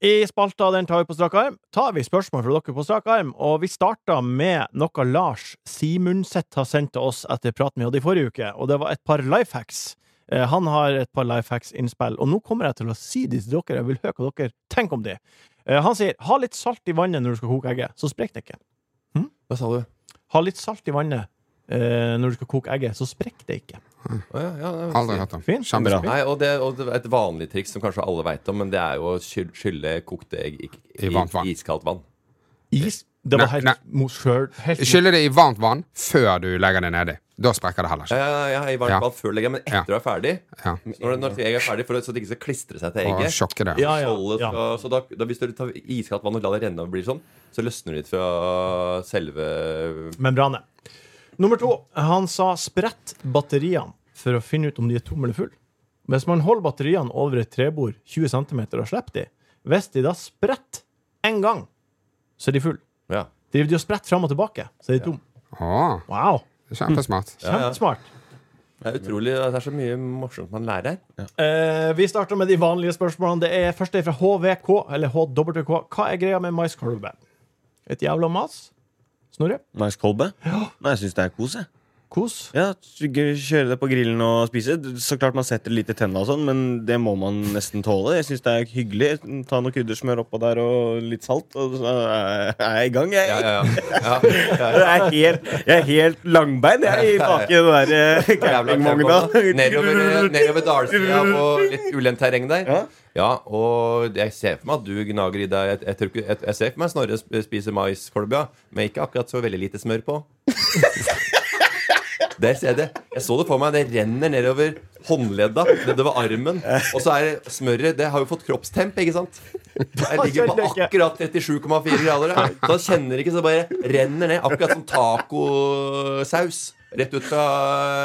I spalta Den tar vi på strak arm, tar vi spørsmål fra dere på strak arm, og vi starta med noe Lars Simundseth har sendt til oss etter praten vi hadde i forrige uke, og det var et par life hacks. Eh, Han har et par life hacks-innspill, og nå kommer jeg til å si de til dere, jeg vil høre hva dere tenker om de. Eh, Han sier ha litt salt i vannet når du skal koke egget, så sprekker det ikke.
Hm? Hva sa du?
Ha litt salt i vannet eh, når du skal koke egget, så sprekker det ikke.
Å, ja, ja, det-
Aldri hørt om.
Fint.
Kjempebra.
Nei, og det, og det er et vanlig triks som kanskje alle veit om, men det er jo å skylle, skylle kokte egg i, i,
I varmt vann.
iskaldt vann.
Is? Det var
Nei,
helt mot sjøl. helt mot-
Skylle det i varmt vann før du legger det nedi. Da sprekker det heller
Ja,
ikke.
ja, ja, i varmt
Ja.
vann før legger, men etter
Ja.
du er ferdig
Ja.
Når, når egget er ferdig, for at- så det ikke skal klistre seg til
Og
egget.
sjokke det.
Ja, ja,
Skjoldet
ja.
skal- Så da, da Hvis du tar iskaldt vann og lar det renne og blir sånn, så løsner det litt fra selve
membranet. Nummer to. Han sa sprett batteriene for å finne ut om de er tomme eller full. Hvis man holder batteriene over et trebord 20 cm og slipper de, hvis de da spretter én gang, så er de full.
Ja.
Driver de og spretter fram og tilbake, så er de tomme.
Å,
Wow!
kjempesmart.
Mm. Kjempesmart.
Det er utrolig, det er så mye morsomt man lærer her.
Eh, vi starter med de vanlige spørsmålene. Det er første er fra HVK, eller HWK. Hva er greia med maiskolbe? Et jævla mas? Snorre?
Nice kolbe. Nei, jeg syns det er kos, jeg.
Kos?
Ja, gøy å Kjøre det på grillen og spise. Så klart man setter litt i tenna, og sånn, men det må man nesten tåle. Jeg syns det er hyggelig. Ta noe kryddersmør oppå der og litt salt, og så er jeg i gang, jeg.
Ja, ja,
[laughs]
ja.
Jeg er helt, jeg er helt langbein jeg, i bak i den der
[laughs]
eh, campingvogna.
Nedover, eh, [laughs] nedover dalsida på litt ulendt terreng der. Ja. og jeg ser for meg at du gnager i deg Jeg, jeg, tror ikke- jeg, jeg ser for meg Snorre sp- spiser maiskolbe, ja, men ikke akkurat så veldig lite smør på. Der ser jeg det. Jeg så det for meg. Det renner nedover håndledda, nedover armen. Og så er det smøret Det har jo fått kroppstemp, ikke sant? Jeg ligger på akkurat 37,4 grader. her. Så han kjenner ikke, så det bare renner ned. Akkurat som tacosaus. Rett ut fra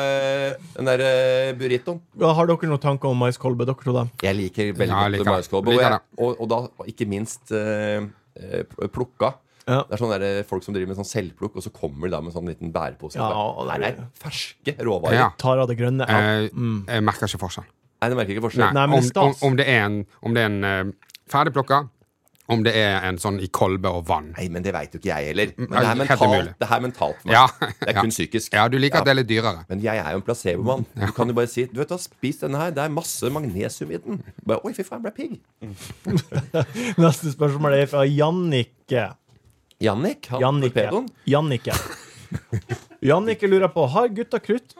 øh, den der øh, burritoen.
Ja, Har dere noen tanker om maiskolbe, dere to? da?
Jeg liker veldig
Ja, jeg
godt
liker det.
maiskolbe. Og,
Liker
jeg- og, og da og ikke minst øh, øh, plukka.
Ja.
Det er sånne der, øh, folk som driver med sånn selvplukk, og så kommer de da med en sånn liten bærepose.
Ja,
og
og
det
det
er,
blir-
ferske råvarer.
Ja.
Tar av det grønne. Ja.
Eh,
Mm.
Jeg merker ikke forskjell.
Nei, det merker ikke
Nei,
forskjell.
Nei, men
om,
det er
om,
stas.
om det er en, om det er en eh, ferdigplukka Om det er en sånn i kolbe og vann.
Nei, men det veit jo ikke jeg heller. Men
Nei,
det er
Mm, helt
mentalt,
umulig.
det her er mentalt for meg.
Ja,
Det er
ja.
kun psykisk.
Ja, du liker at det er litt dyrere.
Men jeg er jo en placebomann. Du kan jo bare si Du vet, du har spist denne her, det er masse magnesium i den. Bare, Oi, fy faen, jeg ble pigg.
[laughs] Neste spørsmål er fra Jannicke.
Jannik? Han
Jannike.
torpedoen?
[laughs]
Jannike. Jannike lurer på Har gutta krutt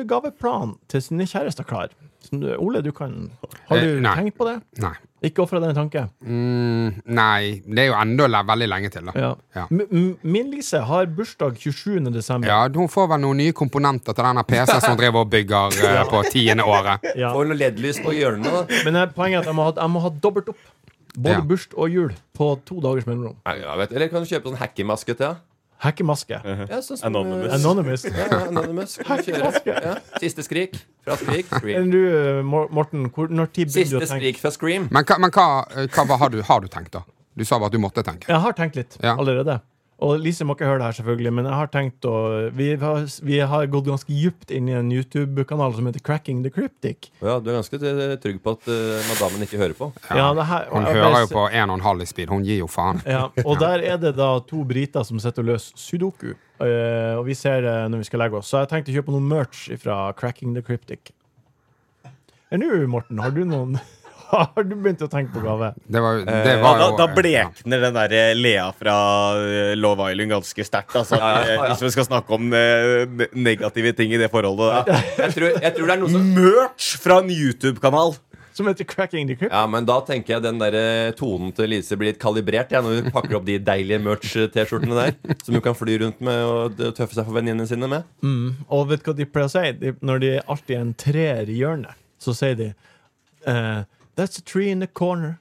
julegaveplan til sine kjærester klar? Som du- Ole, du kan Har du
Eh, nei.
tenkt på det?
Nei.
Ikke ofra denne tanke.
Mm, nei. Det er jo enda le- veldig lenge til, da.
Ja.
Ja.
M- m- Min Lise har bursdag 27. desember.
Ja, Hun får vel noen nye komponenter til denne PC-en som hun driver og bygger eh, på tiende året.
Ja.
Får noe LED-lys på hjørnet.
Men eh, poenget er at jeg må ha, jeg må ha dobbelt opp. Både
Ja.
burst og jul på to dagers mellomrom.
Nei, jeg vet, eller kan du kjøpe sånn hackemaske til? ja?
Hekkemaske.
[laughs]
Ja, sånn som, eh,
Anonymous.
Ja, ja, Anonymous. Kan du kjøre? Ja. Siste skrik fra Skrik.
Enn
Scream.
du, eh, Mor- Morten, hvor, når tid begynner
Siste
du å tenke?
skrik fra Scream.
Men, hva- men hva, eh, hva var- har, du, har du tenkt, da? Du sa bare at du måtte tenke.
Jeg har tenkt litt allerede. Og Lise må ikke høre det her, selvfølgelig, men jeg har tenkt å Vi har, vi har gått ganske djupt inn i en YouTube-kanal som heter Cracking the Cryptic.
Ja, du er ganske eh, trygg på at eh, madammen ikke hører på.
Ja, det her-
Hun
jeg ble
hører jo
s-
på en og en halv i speed. Hun gir jo faen.
Ja, og der er det da to briter som sitter og løser sudoku. Eh, og vi ser det når vi skal legge oss. Så jeg tenkte å kjøpe noe merch fra Cracking the Cryptic. Enn du, Morten, har du noen [laughs] Har du begynt å tenke på gave?
Det var,
Eh, da, da blekner den der eh, Lea fra eh, Love Island ganske sterkt. Altså,
Ja, ja, ja, ja.
Hvis vi skal snakke om eh, ne- negative ting i det forholdet. der.
Jeg tror, jeg tror det er noe som
Merch fra en YouTube-kanal!
Som heter Cracking the Cryptic?
Ja, men da tenker jeg den der eh, tonen til Lise blir litt kalibrert ja, når hun pakker opp de deilige merch-T-skjortene der, som hun kan fly rundt med og d- tøffe seg for venninnene sine med.
Mm. Og vet du hva de pleier å si? De, når de alltid er en treer i hjørnet, så sier de eh, That's a tree in the corner.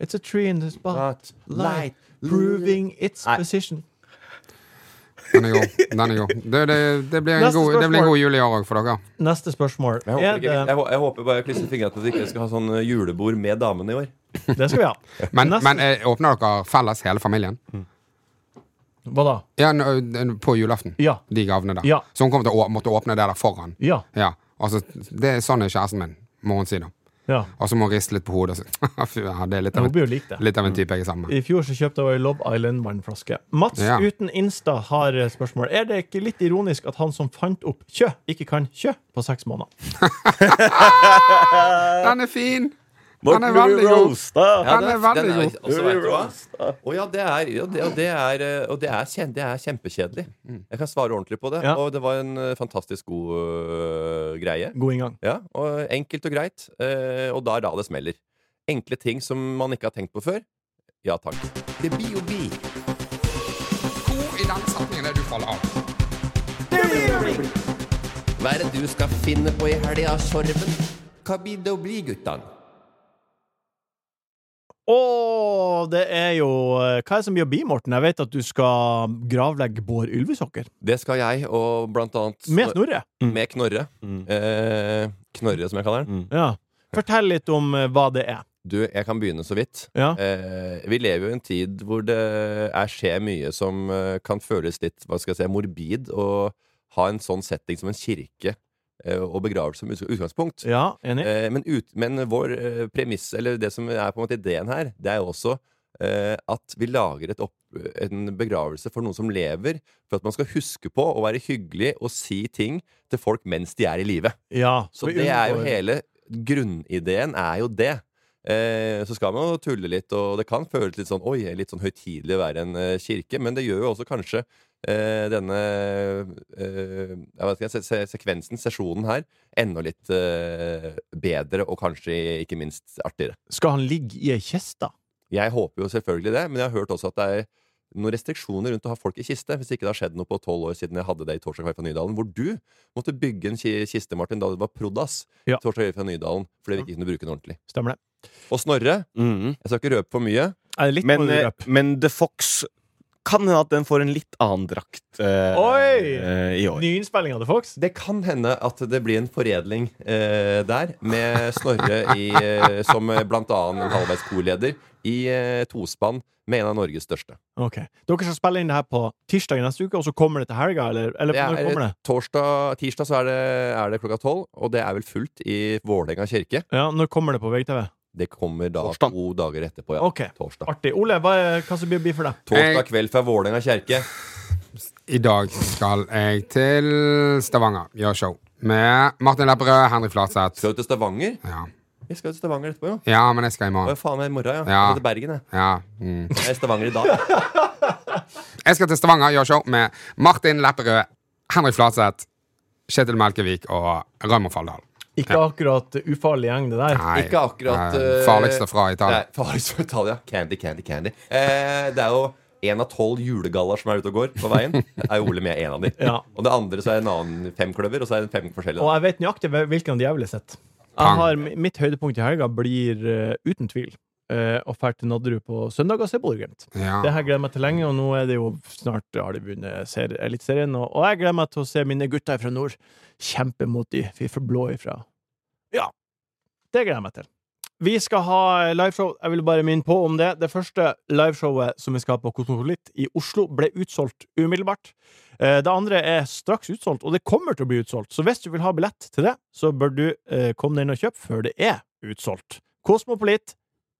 It's a tree in the spot. Light. Proving its position.
Den er god. Den er god. Det, det, det, blir, en
Neste
god, det blir en
spørsmål.
god jul i år òg for dere.
Neste spørsmål.
Jeg håper,
Er
ikke,
det,
jeg, hå- jeg håper bare jeg klistrer fingrene til at vi ikke skal ha sånn eh, julebord med damene i år.
det skal vi ha.
Men,
Neste- Mm.
men eh, åpner dere felles, hele familien?
Hva da?
Ja, n- n- På julaften?
Ja.
De gavene der?
Ja.
Så hun kommer til å å- måtte åpne det der foran?
Ja.
Ja, altså, det er sånn er kjæresten min, må hun si da.
Ja.
Og så må hun riste litt på hodet. og si, [laughs] Fy, ja, det er litt
Ja,
av,
hun blir
en,
jo lik det.
litt av en type jeg er sammen med.
I fjor så kjøpte jeg ei Love Island vannflaske. Mats
Ja.
uten Insta har eh, spørsmål. Er det ikke litt ironisk at han som fant opp kjø, ikke kan kjø på seks måneder?
Den er fin! Den
Morten
er
blir
veldig god.
roasta!
Ja,
Den
det
er
er- den
veldig
er-
god.
Og så vet du hva? Og ja, det er, ja, det, og det er, eh, og det er, kjen- det er kjempekjedelig. Mm. Jeg kan svare ordentlig på det.
Ja.
Og det var en eh, fantastisk god eh, greie.
God inngang.
Ja, og enkelt og greit. eh, og da er da det smeller. Enkle ting som man ikke har tenkt på før. Ja takk. Det blir jo bi.
Hvor i den setningen er det du faller av?
Hva er det du skal finne på i helga, Sorven? Hva blir det å bli, guttan?
Og det er jo eh, Hva er det som blir å bli, Morten? Jeg vet at du skal gravlegge Bård Ylvisåker.
Det skal jeg, og blant annet
Med Snorre. Mm.
Med Knorre. Eh, knorre, som jeg kaller den.
Ja. Fortell litt om eh, hva det er.
Du, jeg kan begynne så vidt.
Ja.
Eh, vi lever jo i en tid hvor det er skjer mye som eh, kan føles litt hva skal jeg si, morbid, og ha en sånn setting som en kirke eh, og begravelse som utg- utgangspunkt.
Ja, enig?
Eh, men, ut, men vår eh, premiss, eller det som er på en måte ideen her, det er jo også eh, at vi lager et opp, en begravelse for noen som lever, for at man skal huske på å være hyggelig og si ting til folk mens de er i live.
Ja.
Så
vi
det er jo
unngår-
hele grunnideen er jo det. Eh, så skal man jo tulle litt, og det kan føles litt sånn Oi, litt sånn høytidelig å være en eh, kirke, men det gjør jo også kanskje eh, denne eh, jeg vet ikke, se se sekvensen, sesjonen her, enda litt eh, bedre og kanskje ikke minst artigere.
Skal han ligge i ei kiste?
Jeg håper jo selvfølgelig det, men jeg har hørt også at det er noen restriksjoner rundt å ha folk i kiste, hvis ikke det har skjedd noe på tolv år siden jeg hadde det i Torsdag kveld fra Nydalen, hvor du måtte bygge en ki- kiste, Martin, da det var Prodas,
Ja.
Torsdag kveld fra Nydalen, fordi vi ikke kunne bruke den ordentlig.
Stemmer det?
Og Snorre,
Mm.
Mm.
jeg skal ikke røpe for mye.
Er det litt
Men, eh,
røp?
men The Fox kan hende at den får en litt annen drakt eh,
Oi!
eh, i år.
Nyinnspilling av The Fox?
Det kan hende at det blir en foredling eh, der, med Snorre i, eh, som eh, blant annet en halvveis korleder, i eh, tospann med en av Norges største.
Ok. Dere skal spille inn det her på tirsdag i neste uke, og så kommer det til helga, eller? eller
Det
når
er,
kommer det?
torsdag, tirsdag så er det, er det klokka tolv, og det er vel fullt i Vålerenga kirke.
Ja, når kommer det på VGTV?
Det kommer da to dager etterpå. Ja.
Ok.
Torsdag.
Artig. Ole, hva, er- hva som blir blir for deg?
Torsdag kveld fra Vålerenga kirke.
I dag skal jeg til Stavanger gjøre show med Martin Lepperød, Henrik Flatseth.
Skal du til Stavanger?
Ja.
Vi skal jo til Stavanger etterpå, ja.
ja, men jeg skal i morgen.
Å, faen, jeg er i morgen, ja. Jeg
ja.
skal til Bergen, jeg.
Ja. Mm.
Jeg er i Stavanger i dag.
Jeg skal til Stavanger gjøre show med Martin Lepperød, Henrik Flatseth, Kjetil Melkevik og Raymond Falldal.
Ikke akkurat ufarlig gjeng, det der.
[laughs] Nei,
Ikke akkurat
eh,
eh,
farligste fra Italia.
Nei, farligste fra Italia. Candy, candy, candy. Eh, det er jo én av tolv julegaller som er ute og går på veien. Er jo Ole med en av de.
Ja.
Og det andre så er en annen femkløver, og så er det fem forskjellige.
Og jeg vet nøyaktig hvil- hvilken av de jeg ville sett. Jeg
Pang.
har, mitt høydepunkt i helga blir eh, uten tvil eh, å dra til Nadderud på søndag og se Bodø-Glimt.
Ja.
Det her gleder jeg meg til lenge, og nå er det jo snart har de vunnet serie- Eliteserien. Og, og jeg gleder meg til å se mine gutter fra nord kjempe mot de vi fra blå ifra. Ja. Det gleder jeg meg til. Vi skal ha liveshow. Jeg vil bare minne på om det. Det første liveshowet som vi skal ha på Kosmopolit i Oslo, ble utsolgt umiddelbart. Eh, Det andre er straks utsolgt, og det kommer til å bli utsolgt. Så hvis du vil ha billett til det, så bør du eh, komme deg inn og kjøpe før det er utsolgt. Kosmopolit,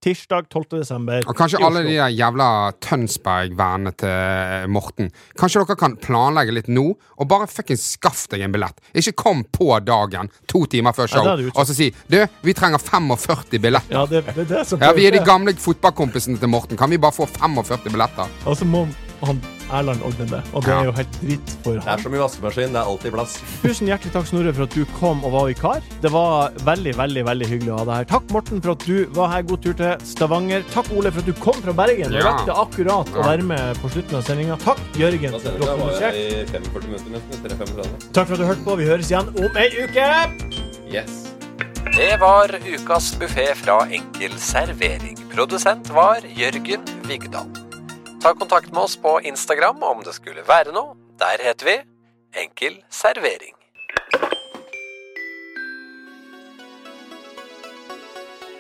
tirsdag 12. desember.
Og kanskje
i
alle
Oslo.
de der jævla Tønsberg-vennene til eh, Morten. Kanskje dere kan planlegge litt nå, og bare fuckings skaff deg en billett. Ikke kom på dagen, to timer før show,
Ja, det er det
og så si Du, vi trenger 45 billetter.
Ja, det, det er det som
Ja, Vi er de gamle fotballkompisene til Morten. Kan vi bare få 45 billetter?
Og så må han Erland ordne det, og det
Ja.
er jo helt dritt for
Det er som i vaskemaskin, det er alltid plass.
Tusen hjertelig takk, Snorre, for at du kom og var vikar. Det var veldig veldig, veldig hyggelig å ha deg her. Takk, Morten, for at du var her. God tur til Stavanger. Takk, Ole, for at du kom fra Bergen. Du
Ja.
rakk det akkurat å være med på slutten av sendinga. Takk, Jørgen. for
Da
at
sender
du
vi
har
deg bare
kommunisert.
i 45 minutter, nesten. eller 35.
Takk for at du hørte på. Vi høres igjen om ei uke.
Yes.
Det var ukas buffé fra Enkel servering. Produsent var Jørgen Vigdal. Ta kontakt med oss på Instagram om det skulle være noe. Der heter vi Enkel servering.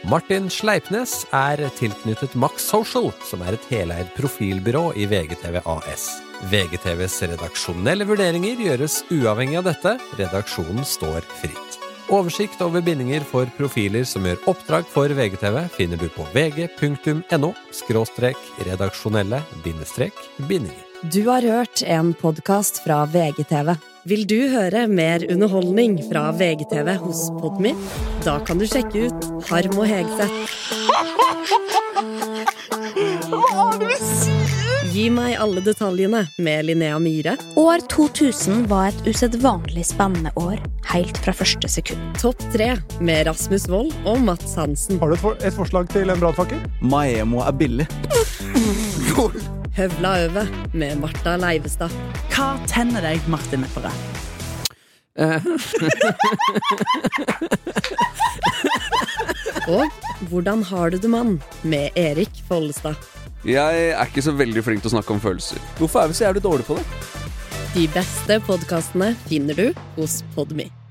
Martin Sleipnes er tilknyttet Max Social, som er et heleid profilbyrå i VGTV AS. VGTVs redaksjonelle vurderinger gjøres uavhengig av dette. Redaksjonen står fritt. Oversikt over bindinger for profiler som gjør oppdrag for VGTV, finner du på vg.no – redaksjonelle – bindinger.
Du har hørt en podkast fra VGTV. Vil du høre mer underholdning fra VGTV hos Podmy? Da kan du sjekke ut Harm og Hegseth. Hva er det du sier?! Gi meg alle detaljene med Linnea Myhre.
År 2000 var et usedvanlig spennende år, helt fra første sekund.
Topp tre med Rasmus Wold og Mats Hansen. Har du et forslag til en brannfakkel?
Maemo er billig.
Høvla over med Martha Leivestad. Hva tenner deg, Martin Lepperød? Og Hvordan har du det, mann? med Erik Follestad.
Jeg er ikke så veldig flink til å snakke om følelser. Hvorfor er vi så jævlig dårlige på det?
De beste podkastene finner du hos Podmy.